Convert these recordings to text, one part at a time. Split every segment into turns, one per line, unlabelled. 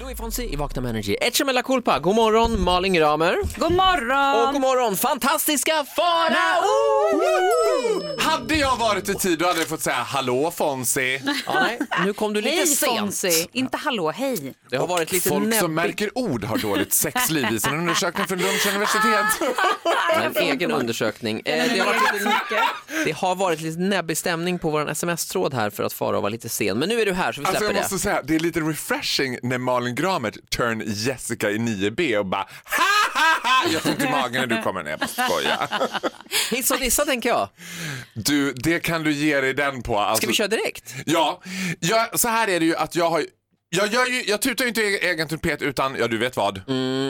Louis Fonsi i Vakna med Energy. Ecce Mella Culpa. God morgon Malin Gramer.
God morgon!
Och god morgon fantastiska Farao!
Hade jag varit i tid då hade jag fått säga hallå Fonzie.
Ja, nej, nu kom du lite
hej
sent.
Fonzie! Inte hallå, hej.
Det har varit lite
Folk som
näbbigt.
märker ord har dåligt sexliv visar en undersökning från Lunds universitet.
En egen undersökning. Eh, det, har varit lite, det har varit lite näbbig stämning på vår sms-tråd här för att Farao var lite sen. Men nu är du här så vi
Alltså
släpper
jag måste
det.
säga, det är lite refreshing när Malin Gramer turn Jessica i 9B och bara ha ha ha! Jag får ont i magen när du kommer ner, jag bara skoja.
Hiss och dissa tänker jag.
Du, det kan du ge dig den på. Alltså,
Ska vi köra direkt?
Ja, jag, så här är det ju att jag har jag, gör ju, jag tutar ju inte i egen trumpet utan, ja du vet vad,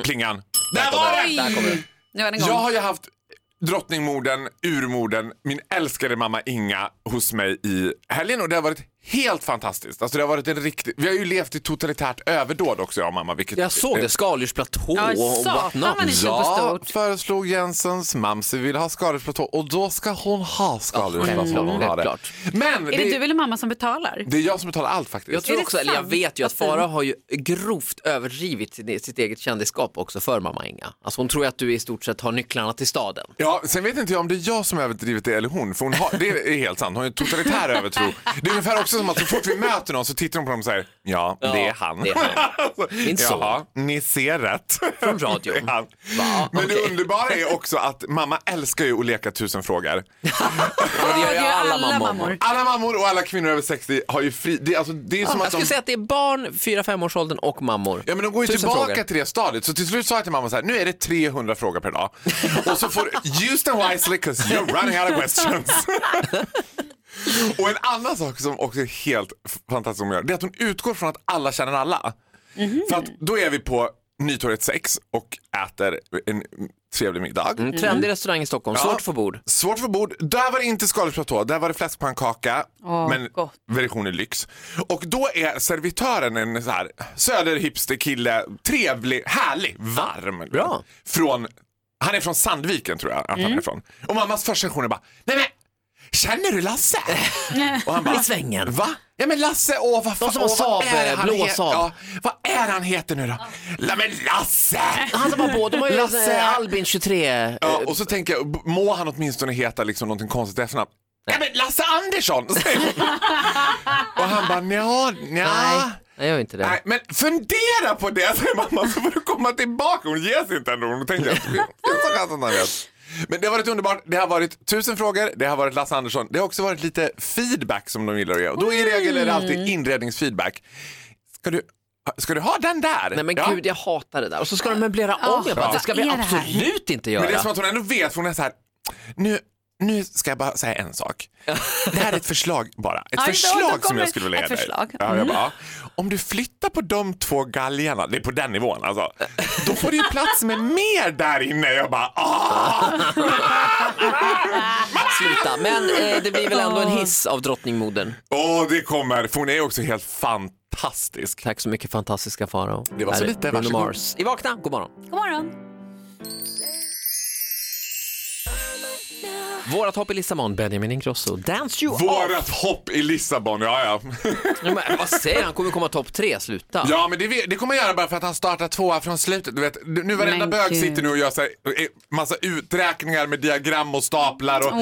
plingan. Där var det!
Mm. Där kommer det.
Nu är den igång.
Jag har ju haft drottningmorden, urmorden, min älskade mamma Inga hos mig i helgen och det har varit helt fantastiskt. Alltså det har varit en riktig, vi har ju levt i totalitärt överdåd också jag och mamma. Vilket
Jag såg det, skaldjursplatå
Ja,
och
satan vad ni
whatnot.
kör på
Ja,
stort.
föreslog Jensens mamsi vill ha skaldjursplatå och då ska hon ha skaldjursplatå.
Ja,
om hon har det.
självklart.
Men det,
Är det du eller mamma som betalar?
det är jag som betalar allt faktiskt.
Jag tror
det
också, eller jag
sant?
vet ju att
Vad fint.
Farao har ju grovt överdrivit sitt sitt eget kändisskap också för mamma Inga. Alltså hon tror ju att du i stort sett har nycklarna till staden.
Ja, sen vet inte jag om det är jag som har överdrivit det eller hon, för hon har, det är helt sant, hon har en totalitär övertro. Det är ungefär också som att så fort vi möter någon så tittar hon på dem och säger ja, det är han.
det är
han.
Min son.
Jaha, ni ser rätt.
Från radion.
Det är han.
Va,
Men det
okej.
underbara är också att mamma älskar ju att leka tusen frågor.
Och det gör ju alla, mammor.
Alla mammor och alla kvinnor över 60 har ju fri... Det, är alltså, det är som
Jag
att de...
skulle säga att det är barn, 4-5-årsåldern och mammor.
Ja men de går ju
Tusen
tillbaka
frågor.
till det stadiet. Så till slut sa jag till mamma så här, nu är det 300 frågor per dag. Och så får use them wisely because you're running out of questions. Och en annan sak som också är helt fantastisk som hon gör, det är att hon utgår från att alla känner alla.
Mhm.
För att då är vi på Nytorget 6 och äter en trevlig middag.
Mm. Trendig restaurang i Stockholm, svårt att få bord.
Svårt för bord. Där var det inte skaldjursplatå, där var det fläskpannkaka.
Åh,
men
gott.
versionen lyx. Och då är servitören en så här söderhipsterkille, trevlig, härlig, varm.
Bra. Mm.
Från, han är från Sandviken tror jag att han är från. Och mammas första reaktion är bara, nej men Känner du Lasse? Och han bara,
I svängen.
Va? Ja men Lasse, åh vad fan,
som har
åh, vad
Saab,
är det han
blå
heter?
Saab.
Ja, vad är han heter nu då? La, men Lasse!
Han som har båda, de har ju
Lasse.
eh, Albin 23.
Ja, och så tänker jag, b- må han åtminstone heta liksom någonting konstigt efternamn? Nej men Lasse Andersson! säger hon. och han bara nja,
Nej,
nja.
jag gör inte det.
Ah. Nej, men fundera på det säger mamma så får du komma tillbaka. Hon ger sig inte ändå. Hon tänker att det finns en chans att han vet. Men det har varit underbart. Det har varit tusen frågor. Det har varit Lasse Andersson. Det har också varit lite feedback som de gillar att ge. Och då i regel är det alltid inredningsfeedback. Ska du, ska du ha den där?
Nej men
Ja.
gud, jag hatar det där. Och så ska de möblera om. Jag bara, det ska vi
Vad är det här?
absolut inte
Men det är
göra.
som att hon ändå vet, för hon är så här, nu, nu ska jag bara säga en sak. Det här är ett förslag bara. Ett
då- då
förslag som
kommer
jag skulle vilja
ett
ge dig.
förslag. Mm.
Ja, jag bara, ja. om du flyttar på de två galgarna, det är på den nivån alltså, då får du ju plats med mer där inne. Jag bara, ah!
Sluta. Men eh, det blir väl ändå en hiss av drottningmodern.
Åh, det kommer. För hon är också helt fantastisk.
Tack så mycket fantastiska Farao.
Det var så
Här är
lite,
Bruno
varsågod.
Mars. I Vakna, god morgon.
God morgon.
Vårat hopp i Lissabon, Benjamin Ingrosso. Dance you up!
Vårat hopp i Lissabon, ja ja.
Nej, men, vad säger han? Kommer komma topp tre, sluta.
Ja, men det, vet- det kommer han göra bara för att han startar tvåa från slutet. Du vet, nu varenda
Men
bög
gud.
sitter nu och gör så här, eh, massa uträkningar med diagram och staplar. Och,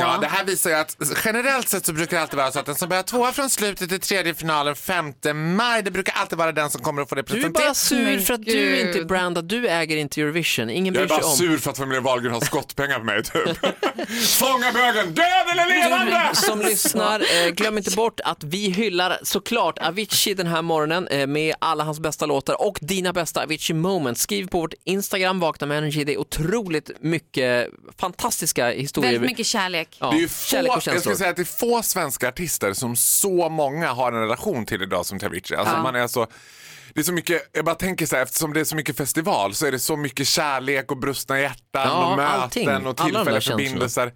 ja, det här visar ju att generellt sett så brukar det alltid vara så att den som börjar tvåa från slutet i tredje finalen 5 maj, det brukar alltid vara den som kommer att få
Du är
representera.
bara sur för att du
Gud.
inte är brandad, du äger inte Eurovision, ingen
Jag
bryr
är
sig
bara
om.
sur för att familjen Wahlgren har skottpengar på mig typ. Fånga bögen, död eller levande!
Du som lyssnar, eh, glöm inte bort att vi hyllar såklart Avicii den här morgonen eh, med alla hans bästa låtar och dina bästa Avicii moments. Skriv på vårt Instagram, Vakna med Energy, det är otroligt mycket fantastiska historier.
Väldigt mycket kärlek.
Ja,
Det är ju
kärlek
få,
och
jag
känslor.
skulle säga att det är få svenska artister som så många har en relation till idag som till Avicii. Alltså man är så, det är så mycket, jag bara tänker så här, eftersom det är så mycket festival så är det så mycket kärlek och brustna hjärtan
Ja,
och möten
allting. Alla
och
de där
tillfälliga
känslorna.
förbindelser.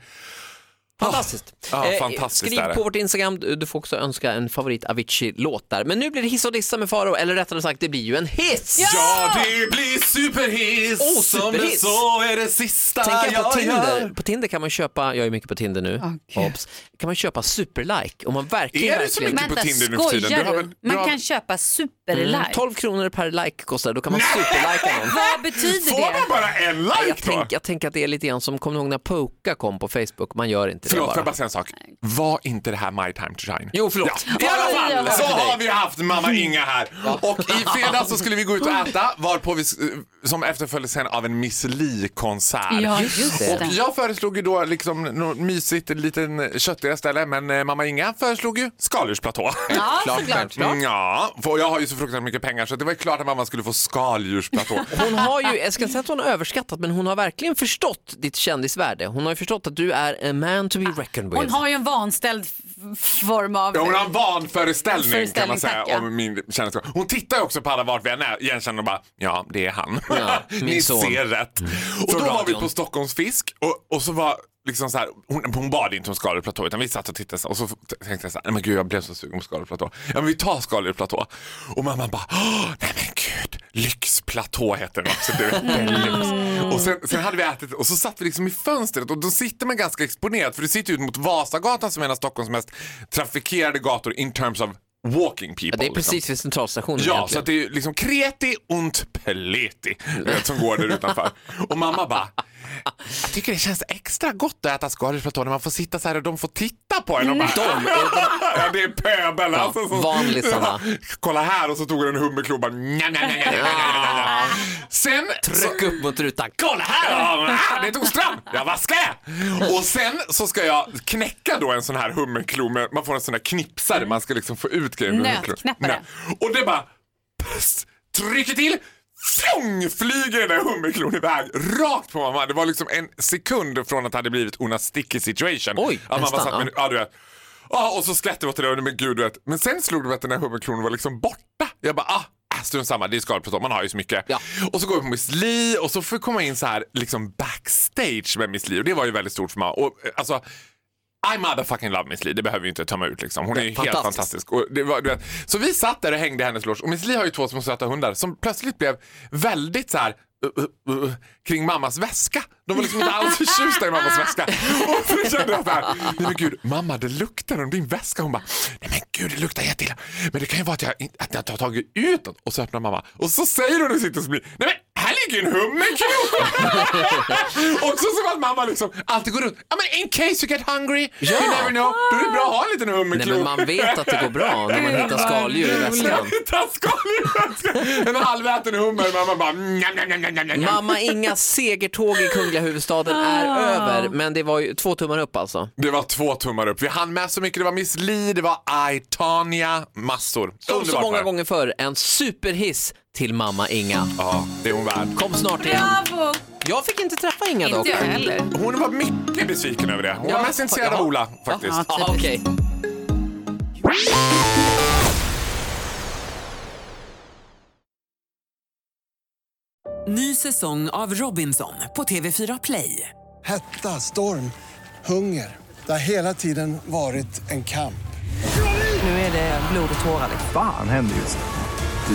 Fantastiskt.
Ja,
Eh,
fantastiskt
Skriv
är det.
på vårt Instagram, du du får också önska en favorit Avicii-låt där. Men nu blir det hiss och dissa med Faro eller rättare sagt det blir ju en hiss!
Ja, det blir superhiss!
Åh,
Som
superhiss.
det så är det sista
Tänk jag på Tinder.
gör.
På Tinder kan man köpa, jag är mycket på Tinder nu,
Åh, gud.
Obs. kan man köpa superlike om man verkligen...
Är det så
verkligen...
mycket? på Tinder nu för tiden. Du
skojar
har
du?
väl- du
Man
har-
kan köpa superlight.
Mm, 12 kronor per like kostar det, då kan man superlika någon.
Vad betyder
Får man
det?
bara en
Nej,
like
jag,
då?
tänk, jag tänker att det är lite grann som, kommer ni ihåg när Poka kom på Facebook? Man gör inte
Förlåt,
det
får jag
bara.
bara säga en sak? Var inte det här My time to shine?
Jo, förlåt.
I alla
Oj,
fall
oj,
så
oj.
har vi haft mamma Inga här. Och i fredags så skulle vi gå ut och äta varpå vi, s- som efterföljdes sen av en Miss Li-konsert.
Ja, just
det.
det.
Och jag föreslog ju då liksom något mysigt, liten köttigare ställe, men eh, mamma Inga föreslog ju skaldjursplatå.
Ja, såklart.
Mm, ja, för jag har ju så fruktansvärt mycket pengar så det var ju klart att mamma skulle få skaldjursplatå.
Hon har ju, jag ska inte säga att hon har överskattat, men hon har verkligen förstått ditt kändisvärde. Hon har ju förstått att du är a man to be
Ah,
reckoned with.
Hon har ju en vanställd f- form av...
Ja, Hon har en vanföreställning kan
Föreställning,
man säga
tack, ja.
om min känsla. Hon tittar ju också på alla vart vi än är, igenkänner och bara ja det är han.
Ja, min
Ni
son. Mm.
ser rätt. Och då
Från
var vi
radion.
på Stockholms fisk och, och så var liksom så här, hon, hon bad inte om skaldjursplatå utan vi satt och tittade så- och så t- tänkte jag så här, nej men gud jag blev så sugen på skaldjursplatå. Ja men vi tar skaldjursplatå Och mamma bara, "Åh, nej men gud, lyxplatå heter den också. Du vet,
Mm.
deluxe. Och sen, sen hade vi ätit och så satt vi liksom i fönstret och då sitter man ganska exponerat för du sitter ut mot Vasagatan som är en av Stockholms mest trafikerade gator in terms of walking people.
Ja, det är
liksom.
precis vid centralstationen
Ja,
egentligen.
så att det är liksom kreti und pleti du vet, som går där utanför. Och mamma bara, jag tycker det känns extra gott att äta skaldjursplatå när man får sitta så här och de får titta på en. Och bara,
Mm, De
ja, det är pöbel alltså. som-
vanlisarna.
Ja, kolla här och så tog hon en hummerklubba. Nja, nja, nja, nja, nja, nja, nja. Sen...
Tryck upp mot rutan.
Kolla här! Ja, men här, Det tog ström! Jag vaskar det! Och sen så ska jag knäcka då en sån här hummerklo. med- Man får en sån där knipsare. Man ska liksom få ut grejen. ur hummerklon.
Nötknäppare.
Nö. Och det bara... Pss, trycker till. Fjong! Flyger den där hummerklon iväg rakt på mamma. Det var liksom en sekund från att det hade blivit Una Sticky situation.
Oj,
att mamma
nästan,
satt med, ja, du vet. Ja, och så skrattade vi åt det där, men gud du vet. Men sen slog det mig att den här hummerkronan var liksom borta. Jag bara, ah, äh, strunt samma, det är skaldjursplatå, man har ju så mycket.
Ja.
Och så går vi på Miss Li och så får vi komma in så här liksom backstage med Miss Li och det var ju väldigt stort för mig. Och eh, alltså, I motherfucking love Miss Li, det behöver vi inte tömma ut liksom. Hon är ju helt
Fantastisk.
fantastisk. Och det var, du vet, så vi satt där och hängde i hennes loge och Miss Li har ju två små söta hundar som plötsligt blev väldigt så här uh, uh, uh, kring mammas väska. De var liksom inte alls förtjusta i mammas väska. Och så kände jag så här, nej men gud mamma det luktar om din väska. Hon bara, nej men gud det luktar jätteilla. Men det kan ju vara att jag, in- att jag har tagit ut den. Och så öppnar mamma och så säger hon och sitter och smiler, nej men här ligger en hummerkrok. Också som att mamma liksom alltid går runt, ja men in case you get hungry,
Ja.
you never know, då är det bra att ha en liten hummerkrok.
Nej, men man vet att det går bra när man hittar skaldjur i väskan.
Taskskaldjur! En halväten hummer, mamma bara... Njam, njam, njam, njam, njam.
Mamma Inga segertåg i kungliga huvudstaden är
Ah.
över, men det var ju två tummar upp alltså.
Det var två tummar upp. Vi hann med så mycket. Det var Miss Li, det var I, Tanya, massor.
Som så
Underbart var
många
det.
gånger förr, en superhiss till mamma Inga.
Ja, det är hon värd.
Kom snart igen.
Bravo!
Jag fick inte träffa Inga dock.
Inte jag heller.
Hon var mycket besviken över det. Hon
Ja,
var mest intresserad
ja.
av Ola faktiskt.
Ja.
Ja, typ. okej.
Ny säsong av Robinson på TV4 Play.
Hetta, storm, hunger. Det har hela tiden varit en kamp.
Nu är det blod och tårar.
Fan händer just det.